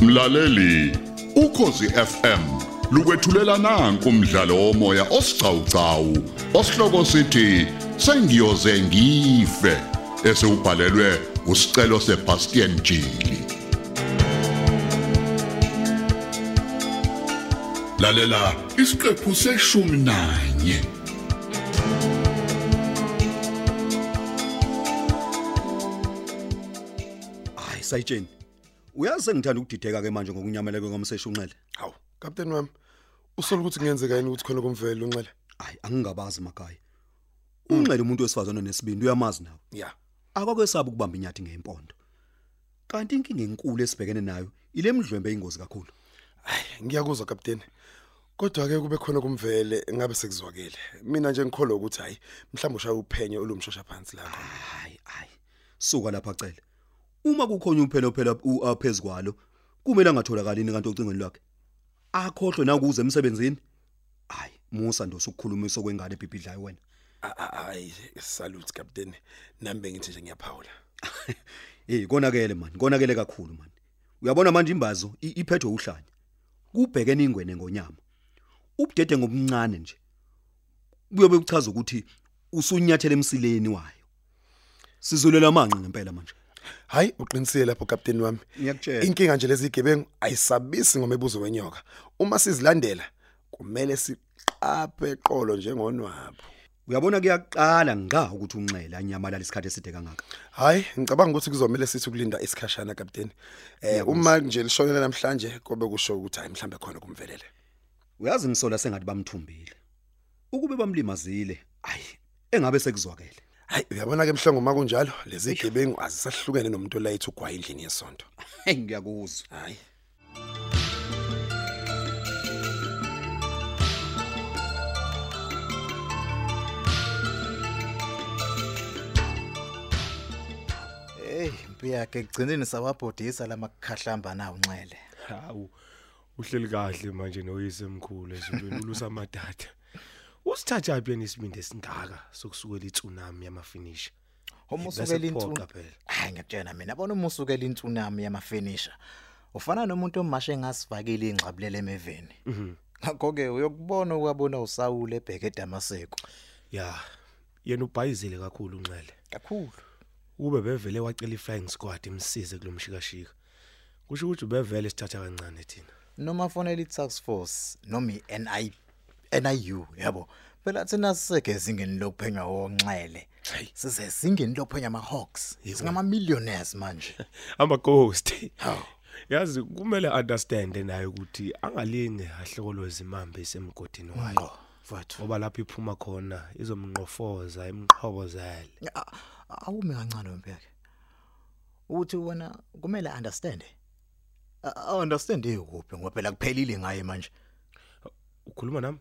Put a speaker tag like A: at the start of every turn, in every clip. A: Mlaleli, ukhosi FM lukwethulela nanku umdlalo womoya osiqhawqhawo osihloko sithi sengiyoze ngife esubhalelwe usicelo seBastian Jili. Lalela isiqephu seshumi nanye.
B: hayi sayitsheni uyazi sengithanda ukudideka ke manje ngokunyameleke ngomseshu unxele
C: Hawu, Captain wami. Usola ukuthi kungenzeka yini ukuthi khona kumvele unxele?
B: hayi angingabazi makhaya unxele umuntu wesifazana nesibindi uyamazi nawe
C: Yeah.
B: akwakwesaba ukubamba inyathi ngempondo kanti inkinga enkulu esibhekene nayo ile mdlwembe ingozi kakhulu
C: Ngiyakuzwa Captain. Kodwa ke kube khona kumvele ngabe sekuzwakele. Mina nje ngikholwa ukuthi hayi, mhlawumbe ushaya uphenyo olumshosha phansi la khona.
B: hayi hayi suka lapha cele uma kukhona uphelo phela uphezukwalo uh, kumele angatholakala ini kanti ocingweni lwakhe akhohlwe nakuze emsebenzini hayi musa ndosukukhulumisa kwengane ebhibhidlayo wena
C: Hayi, salute Captain. Nami bengithi nje ngiyaphawula.
B: Eh konakele man, konakele kakhulu man. Uyabona manje imbazo i- iphethwe uhlanya. Kubhekene ingwene ngonyama. Ubudede ngomncane nje. Kuyobe kuchaza ukuthi usunyathele emsileni wayo. Sizulela amanqe ngempela manje.
C: Hayi, uqinisile lapho Captain wami.
B: Ngiyakutshela.
C: Inkinga nje lezi gebengu ayisabisi ngomebuzo wenyoka. Uma sizilandela, kumele siqaphe eqolo njengonwabo.
B: Uyabona kuyaqala nga ukuthi unxele anyamalala isikhathi eside kangaka.
C: Hayi, ngicabanga ukuthi kuzomela sithi ukulinda isikhashana captain. Eh uma nje lishonela namhlanje kobe kusho ukuthi hayi mhlambe khona kumvelele.
B: Uyazi ngisola sengathi bamthumbile. Ukube bamlimazile, ayi, engabe sekuzwakele.
C: Hayi, uyabona ke mhlongo uma kunjalo, lezi gebengu azisahlukene nomuntu olayithu gwa endlini yesonto.
B: Hey ngiyakuzwa.
C: Hayi.
D: Hey, mpiyake kugcineni sawabhodisa lamakhahlamba nawo unxele.
E: Hawu. Uhleli kahle manje noyise emkhulu ezulwini ulusa amadada. Usithatha phi nesibindi esingaka sokusukela itsunami yamafinisha?
D: Umusukela
E: Besephoqa
D: intsu.
E: phela.
D: Hayi ngiyakutshela mina, bona umusukela intsunami yamafinisha. Ufana nomuntu omashe ngasivakile ingxabulele emeveni. Mhm. Ngakho ke uyokubona ukwabona uSawule ebheke eDamaseko.
E: Ya. Yena ubhayizile kakhulu unxele.
D: Kakhulu.
E: Ube bevele wacela i-flying squad imsize kulomshikashika. Kusho ukuthi ubevele sithatha kancane thina.
D: Noma fonela i-task force noma i-NI NIU yabo. Phela thina sisegezingeni lokuphenya wonxele.
E: Hayi.
D: Size singeni lokuphenya ama-hawks. Singama millionaires manje.
E: Ama ghost. Hawu. Yazi kumele understand naye ukuthi angalinge ahlokolwe izimambe esemgodini wayo.
D: Ngqo. Vathu.
E: Ngoba lapho iphuma khona izomnqofoza imqhobozele.
D: A- awume kancane wempela uthi wona kumele understand i understand ikuphi ngoba phela kuphelile ngaye manje
E: Ukhuluma nami?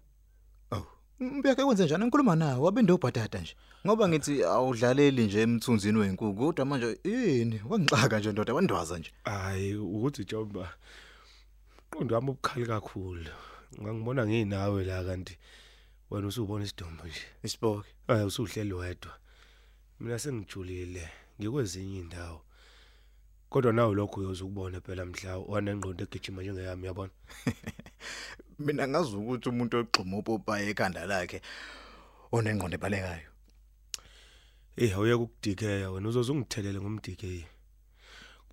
D: mbeke kwenze njani ngikhuluma nawe wabende ubhatata nje ngoba ngithi awudlaleli nje emthunzini wenkuku kodwa manje yini wangixaka nje ndoda wandwaza nje
E: Hayi ukuthi Jomba qondo wami ubukhali kakhulu. Ngangibona nginawe la kanti wena usubona isidumbu nje.
D: isiboke
E: Hayi usuhleli wedwa. Mina sengijulile ngikwezinye indawo. Kodwa nawe lokho uyozukubona phela mhla wanengqondo egijima njengeyami yabona.
D: mina ngazi ukuthi umuntu ogxuma upopa ekhanda lakhe onengqondo ebalekayo
E: Eh awuye kukudikeya wena uzozungithelele ngomdikeyi.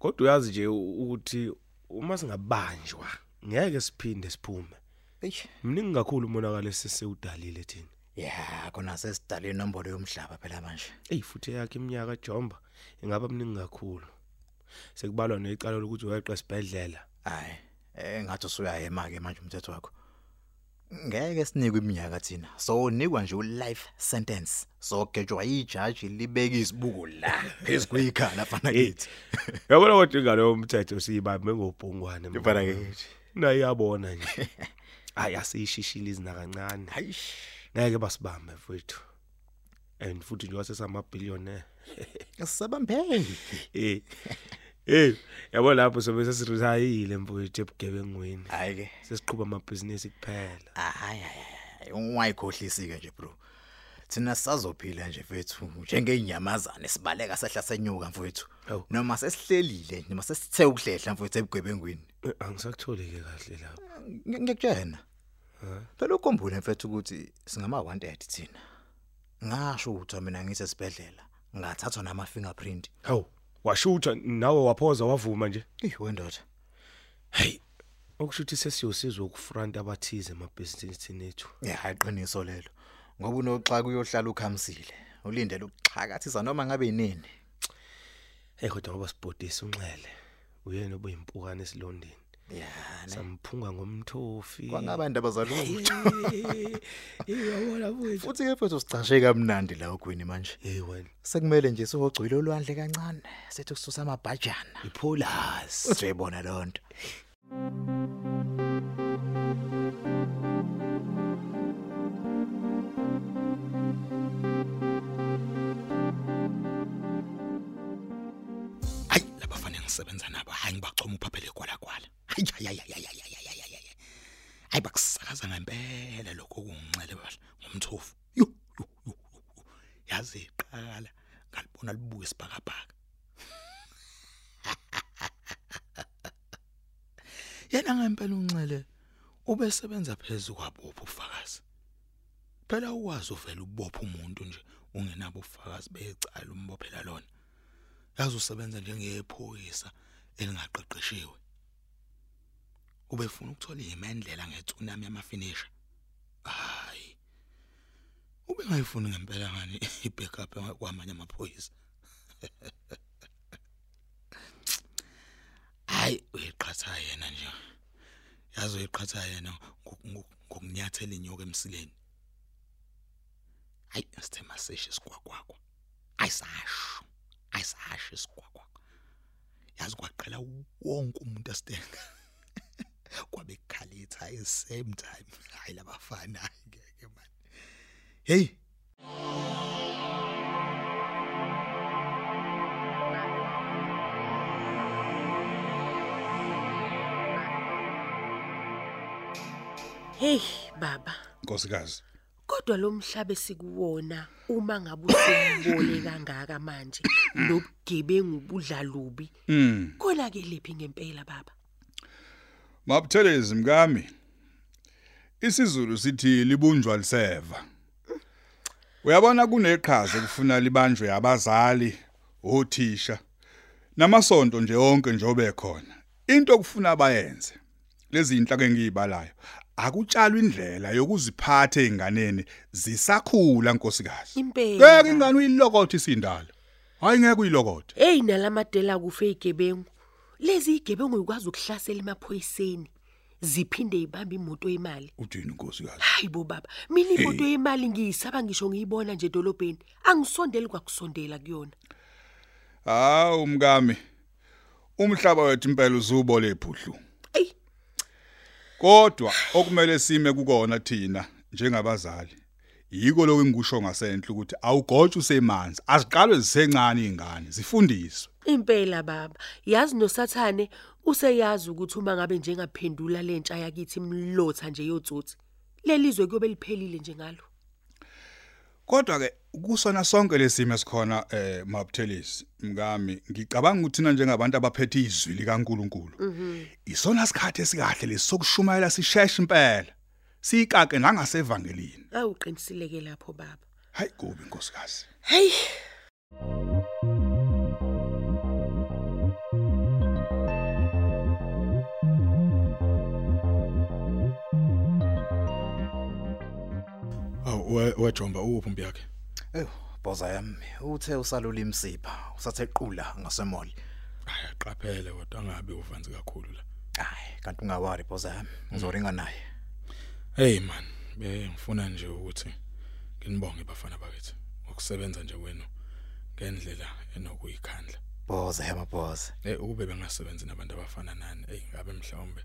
E: Kodwa uyazi nje u- ukuthi uma singabanjwa ngeke siphinde siphume.
D: eish
E: Mningi kakhulu umonakalo esesewudalile thina.
D: yeah kona sesidale inombolo yomhlaba phela manje
E: Ey futhi yakhe iminyaka Jomba ingaba mningi kakhulu. Sekubalwa necala lokuthi uyeqa sibhedlela.
D: Hayi, eh ngathi usuyayema ke manje umthetho wakho. Ngeke sinikwe iminyaka thina. So unikwa nje u-life sentence. So gejwa ijaji libeka isibuko la phezulu kwikhala fana kithi.
E: Yabona kodwa ingalo yomthetho siyibambe ngobhungwane. mama.
D: Ifana kithi.
E: Nayi yabona nje. Hayi asishishile izina kancane.
D: Hayish.
E: Ngeke basibambe mfethu. And futhi nje wasesama billionaire.
D: Asabambeki.
E: Eh. Eh, yabona lapho sobe sesiritayile mfethu ebugebengwini.
D: Hayi ke.
E: Sesiqhuba amabhizinisi kuphela.
D: Hayi hayi. Ungayikhohlisi ke nje bro. Thina sazophila nje mfethu njengeenyamazana sibaleka sehla senyuka mfethu.
E: Hawu.
D: Noma sesihlelile noma sesithe ukuhlehla mfethu ebugebengwini.
E: Eh, angisakutholi ke kahle lapha
D: Ngi- ngiyakutshena phela ukhumbule mfethu ukuthi singama 180 thina ngasho ukuthi mina ngise sibedlela ngathathwa nama fingerprint
E: hawu washutha nawe waphoza wavuma nje
D: eyi wendoda
E: hey okushuthi sesiyosizwa ukufront abathize emabhizinisini ethu
D: ya aqiniso lelo ngoba unoxa kuyohlala ukhamsile ulindele ukuxhakathisa noma ngabe yinini
E: hey kodwa ngoba sibhodisa unxele uyena obeyimpukane esilondeni
D: ya
E: samphunga ngomthofi
D: kwangabantu abazalungu
E: iyabona mfowethu
D: futhi ke mfethu sicashe kamnandi la ogwini manje
E: hey wena
D: sekumele nje sihogcwile olwandle kancane sethu kususa amabhajana
E: ipholasi
D: uzoyibona loo nto
F: hayi labafane ngisebenza nabo hayi ngibachoma uphaphele gwalagwala hayi hayi hayi hayi hayi, hayi, hayi, hayi, hayi. hayi bakusakaza ngempela lokho kungincele bahle ngomthofu yo yo, yo, yo, yo. yazi iqala ngalibona libuye sibhakabhaka yena ngempela unxele ube sebenza phezulu kwabopha ufakazi phela ukwazi uvela ubopha umuntu nje ungenabo ufakazi becala umbophela lona yazi usebenza njengephoyisa elingaqeqeshiwe ubefuna ukuthola imendlela ngetsunami yamafinisha hayi ubengayifuni ngempela ngani ibackup kwamanye amaphoyisa hayi uyiqhatha yena nje yazi uyiqhatha yena ngoku- ngoku- ngokunyathela inyoka emsileni hayi asithema seshe sigwagwagwa ayisasho ayisasho isigwagwagwa yazi kwaqala wonke umuntu asitenga kwabe kukhalitha at the same time hayi labafana ngeke man hey
G: Hey baba,
H: Nkosikazi,
G: kodwa lo mhlabe sikuwona uma ngabe usimbole kangaka manje lobugebengu budlalubi.
H: Hmm.
G: Mhm. Kona ke lephi ngempela baba?
H: mabuthelezi mkami. IsiZulu sithi libunjwa liseva. Uyabona kuneqhaza ukufuna libanjwe abazali, othisha namasonto nje yonke nje obekhona. Into okufuna bayenze. Lezi inhla ke ngiyibalayo. Akutshalwa indlela yokuziphatha einganeni zisakhula nkosikazi.
G: Impela.
H: Ngeke ingane uyilokothe isindalo. Hayi ngeke uyilokothe.
G: Hey nalamadela kufe igebengu. Lezi igebengu ukwazi ukuhlasela emaphoyiseni. Ziphinde ibambe imoto yemali.
H: Uthini nkosikazi?
G: Hayibo baba, mina imoto yemali ngiyisaba ngisho ngiyibona nje edolobheni. Angisondeli kwakusondela kuyona.
H: Hawu mkami. Umhlaba wethu impela uzubole iphudlu.
G: Ey,
H: Kodwa okumele sime kukona thina njengabazali. Yiko lokho engikusho ngasenhle ukuthi awugotshe usemanzi. Aziqalwe zisencane izingane zifundiswe.
G: impela baba, yazi nosathane useyazi ukuthi uma ngabe njengaphendula lentsha yakithi imlotha nje yotsotsi. Lelizwe kuyobe liphelile nje ngalo.
H: Kodwa ke kusona sonke lesimo esikhona eh mabuthelisi mkami ngicabanga ukuthi thina njengabantu abaphethe izwi likaNkuluNkulu. Isona sikhathi esikahle lesokushumayela sisheshe impela. Siyikake nangasevangelini.
G: Awuqinisileke lapho baba.
H: Hayi kubi nkosikazi.
G: Hey,
F: awu wajomba uphi umbi yakhe
D: eyo boza yami uthe usalula imsipha usathe qula ngasemoli
F: ayaqaphele kodwa angabe uvanzi kakhulu la
D: hayi kanti ungawari boza yami ngizoringa naye
F: hey man be ngifuna nje ukuthi nginibonge bafana bakithi ngokusebenza nje kwenu ngendlela enokuyikhandla
D: boza yami boza
F: Eh ukube bengasebenzi nabantu abafana nani, hey ngabe mhlawumbe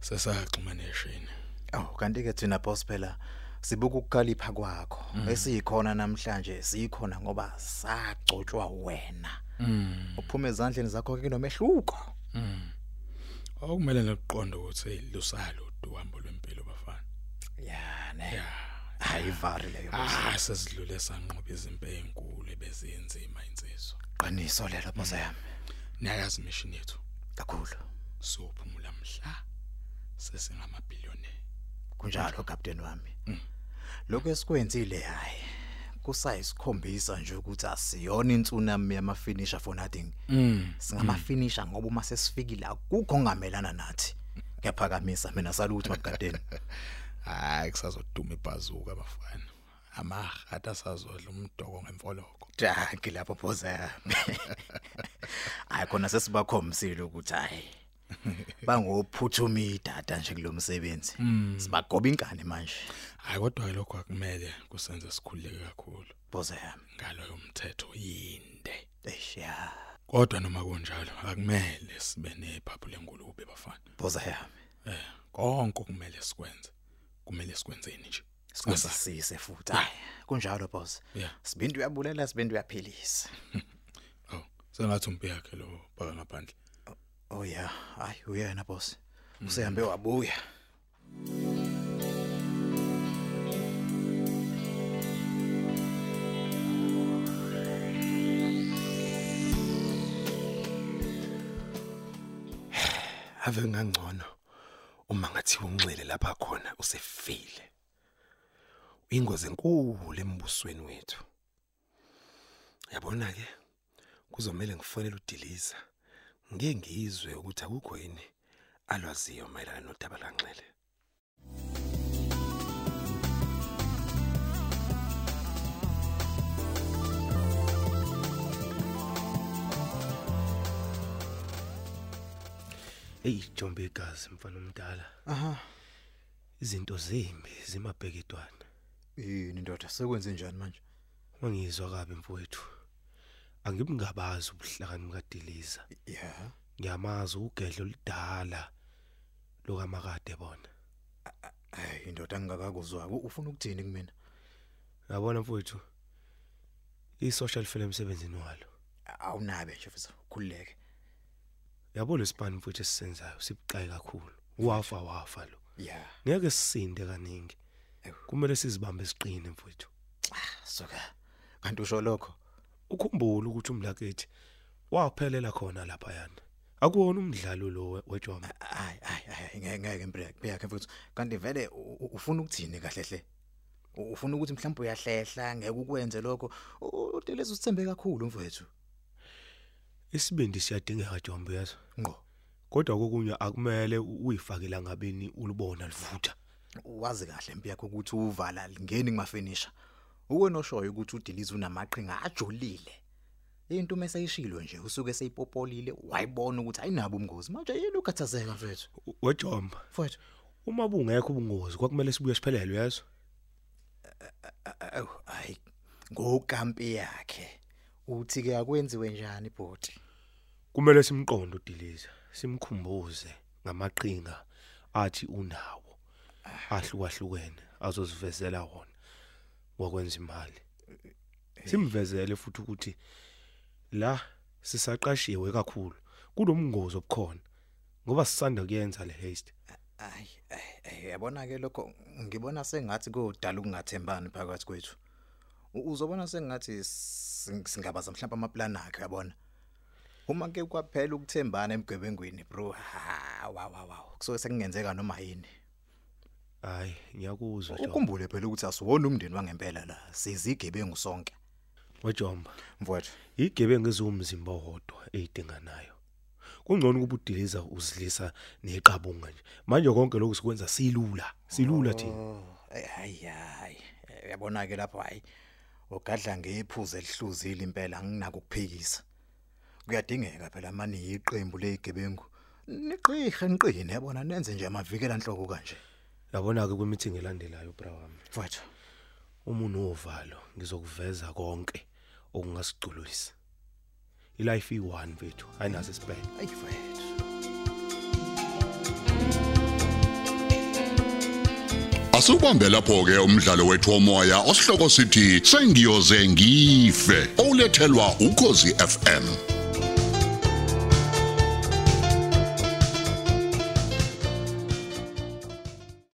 F: sesaxhuma neshini.
D: aw kanti ke thina boss phela sibuka ukukhalipha kwakho
F: Mhm.
D: esiyikhona namhlanje siyikhona ngoba sagcotshwa wena
F: Mhm.
D: uphuma ezandleni zakho ke nomehluko
F: Okumele nokuqonda ukuthi hey lusalo uhambo lwempilo bafana.
D: ya ne ayivari leyo boza
F: Ah sesidlule sanqoba izimpe ezinkulu ebezenzima insizwa. Mm.
D: qiniso lelo boza yami
F: Nayazi mission yethu
D: kakhulu
F: sophumula mhla sesingamabillionaire
D: kunjalo captain wami
F: Mm.
D: lokho esikwenzile hayi kusayisikhombisa nje ukuthi asiyona intsunami yama finisher for nothing
F: Mm.
D: singama finisher ngoba uma sesifikile akukho ongamelana nathi ngiyaphakamisa mina saluthi magadeni
F: hayi kusazoduma ibhazuka bafana amahata sazodla umdoko ngemfoloko
D: daki lapho boza yami hayi khona sesibakhomsile ukuthi hayi bangophuthuma idata nje kulomsebenzi sibagoba inkani manje
F: Hmm. hayi kodwa ke lokho akumele kusenze sikhululeke kakhulu
D: boza yami
F: ngalo yomthetho yinde
D: eshiya
F: kodwa noma kunjalo akumele sibe nebhabhu lengulube bafana
D: boza yami
F: eh konke kumele sikwenze kumele sikwenzeni nje Singasabi.
D: Singasise futhi. Hayi, kunjalo boss.
F: Yeah.
D: Sibindi uyabulela, sibindi uyaphilisa.
F: oh sengathi umpiyakhe lo baka ngaphandle
D: Oh yeah, hayi uyena boss.
F: Hmm.
D: Usehambe wabuya.
C: Ave ngangcono uma ngathi unxele lapha khona usefile. Ingozi enkulu embusweni wethu. Yabona ke kuzomela ngifonele uDiliza. Ngeke ngizwe ukuthi akukho yini alwaziyo mayelana nodaba lanxele.
E: Hey jombe igazi mfana omdala.
D: Aha.
E: Izinto zimbi zimabhekedwana.
D: Yini ndoda sekwenze njani manje?
E: Wangizwa kabi mfowethu. Angibungabazi ubuhlakani bukaDeliza.
D: Yeah.
E: Ngiyamazi ugedlo lidala lokamakade bona.
D: Hayi indoda angikakakuzwa. U- Ufuna ukuthini kumina?
E: Yabona mfowethu. I-social film emsebenzini walo.
D: Awunabe nje futhi ukhululeke.
E: Yabo lesibani mfowethu esisenzayo sibuqayi kakhulu. Wafa wafa lo.
D: Yeah.
E: Ngeke sisinde kaningi.
D: Ewu.
E: Kumele sizibambe siqine mfowethu.
D: Suka. Kanti usho lokho?
E: ukhumbule ukuthi umlakethi waphelela khona lapha yana akuwona umdlalo lo wejoma
D: Hayi hayi hayi ngeke ngeke impela yakhe futhi. Kanti vele u- u- ufuna ukuthini kahle hle? U- Ufuna ukuthi mhlawumbe uyahlehla ngeke ukwenze lokho. U- Udeleza usithembe kakhulu mfowethu.
E: isibindi siyadingeka jombo yazo
D: Ngqo.
E: kodwa kokunye akumele u- uyifakela ngabeni ulibona livutha
D: wazi kahle impi yakho ukuthi uvala lingeni kumafinisha uwena oshoyo ukuthi udelize unamaqhinga ajolile into meseyishilo nje usuke seyipopolile wayibona ukuthi ayinabo ubungozi manje yini ukhathazeka mfethu
E: U- wejomba
D: mfethu
E: uma bungekho ubungozi kwakumele sibuye siphelele yazo
D: awu hayi ngokampi yakhe uthi ke akwenziwe njani ibhoti
E: kumele simqonde udiliza simkhumbuze ngamaqhinga athi unawo Ah. ahlukahlukene azozivezela wona wakwenza imali eh. simvezele futhi ukuthi la sisaqashiwe kakhulu kulomngozi obukhona ngoba sisanda kuyenza le haste
D: ayi ayi, yabona ke lokho ngibona sengathi kodala ukungathembani phakathi kwethu U- uzobona sengathi sing- singabaza mhlawumbe amaplan akhe yabona uma ke kwaphela ukuthembana emgwebengweni bro ha wa wa wa kusoke sekungenzeka noma yini
E: hayi ngiyakuzwa Jomba.
D: ukhumbule phela ukuthi asiwona umndeni wangempela la sizigebengu sonke
E: wejomba
D: mfowethu
E: igebengu eziwumzimba owodwa eyidinganayo kungcono ukuba udiliza uzilisa neqabunga nje manje konke lokhu sikwenza silula silula thina
D: hayi hayi yabona ke lapho hayi ugadla ngephuze elihluzile impela anginako ukuphikisa kuyadingeka phela mani iqembu legebengu niqihe niqine yabona nenze nje amavikela enhloko kanje
E: yabona ke kwimeeting elandelayo bra wami
D: mfowethu
E: umuntu ovalo ngizokuveza konke okungasigculisa ilife i1 vethu ayinaso isibhele
D: ayi mfowethu
A: Asubambe lapho ke umdlalo wethu omoya osihloko sithi sengiyoze ngife olethelwa ukhozi FM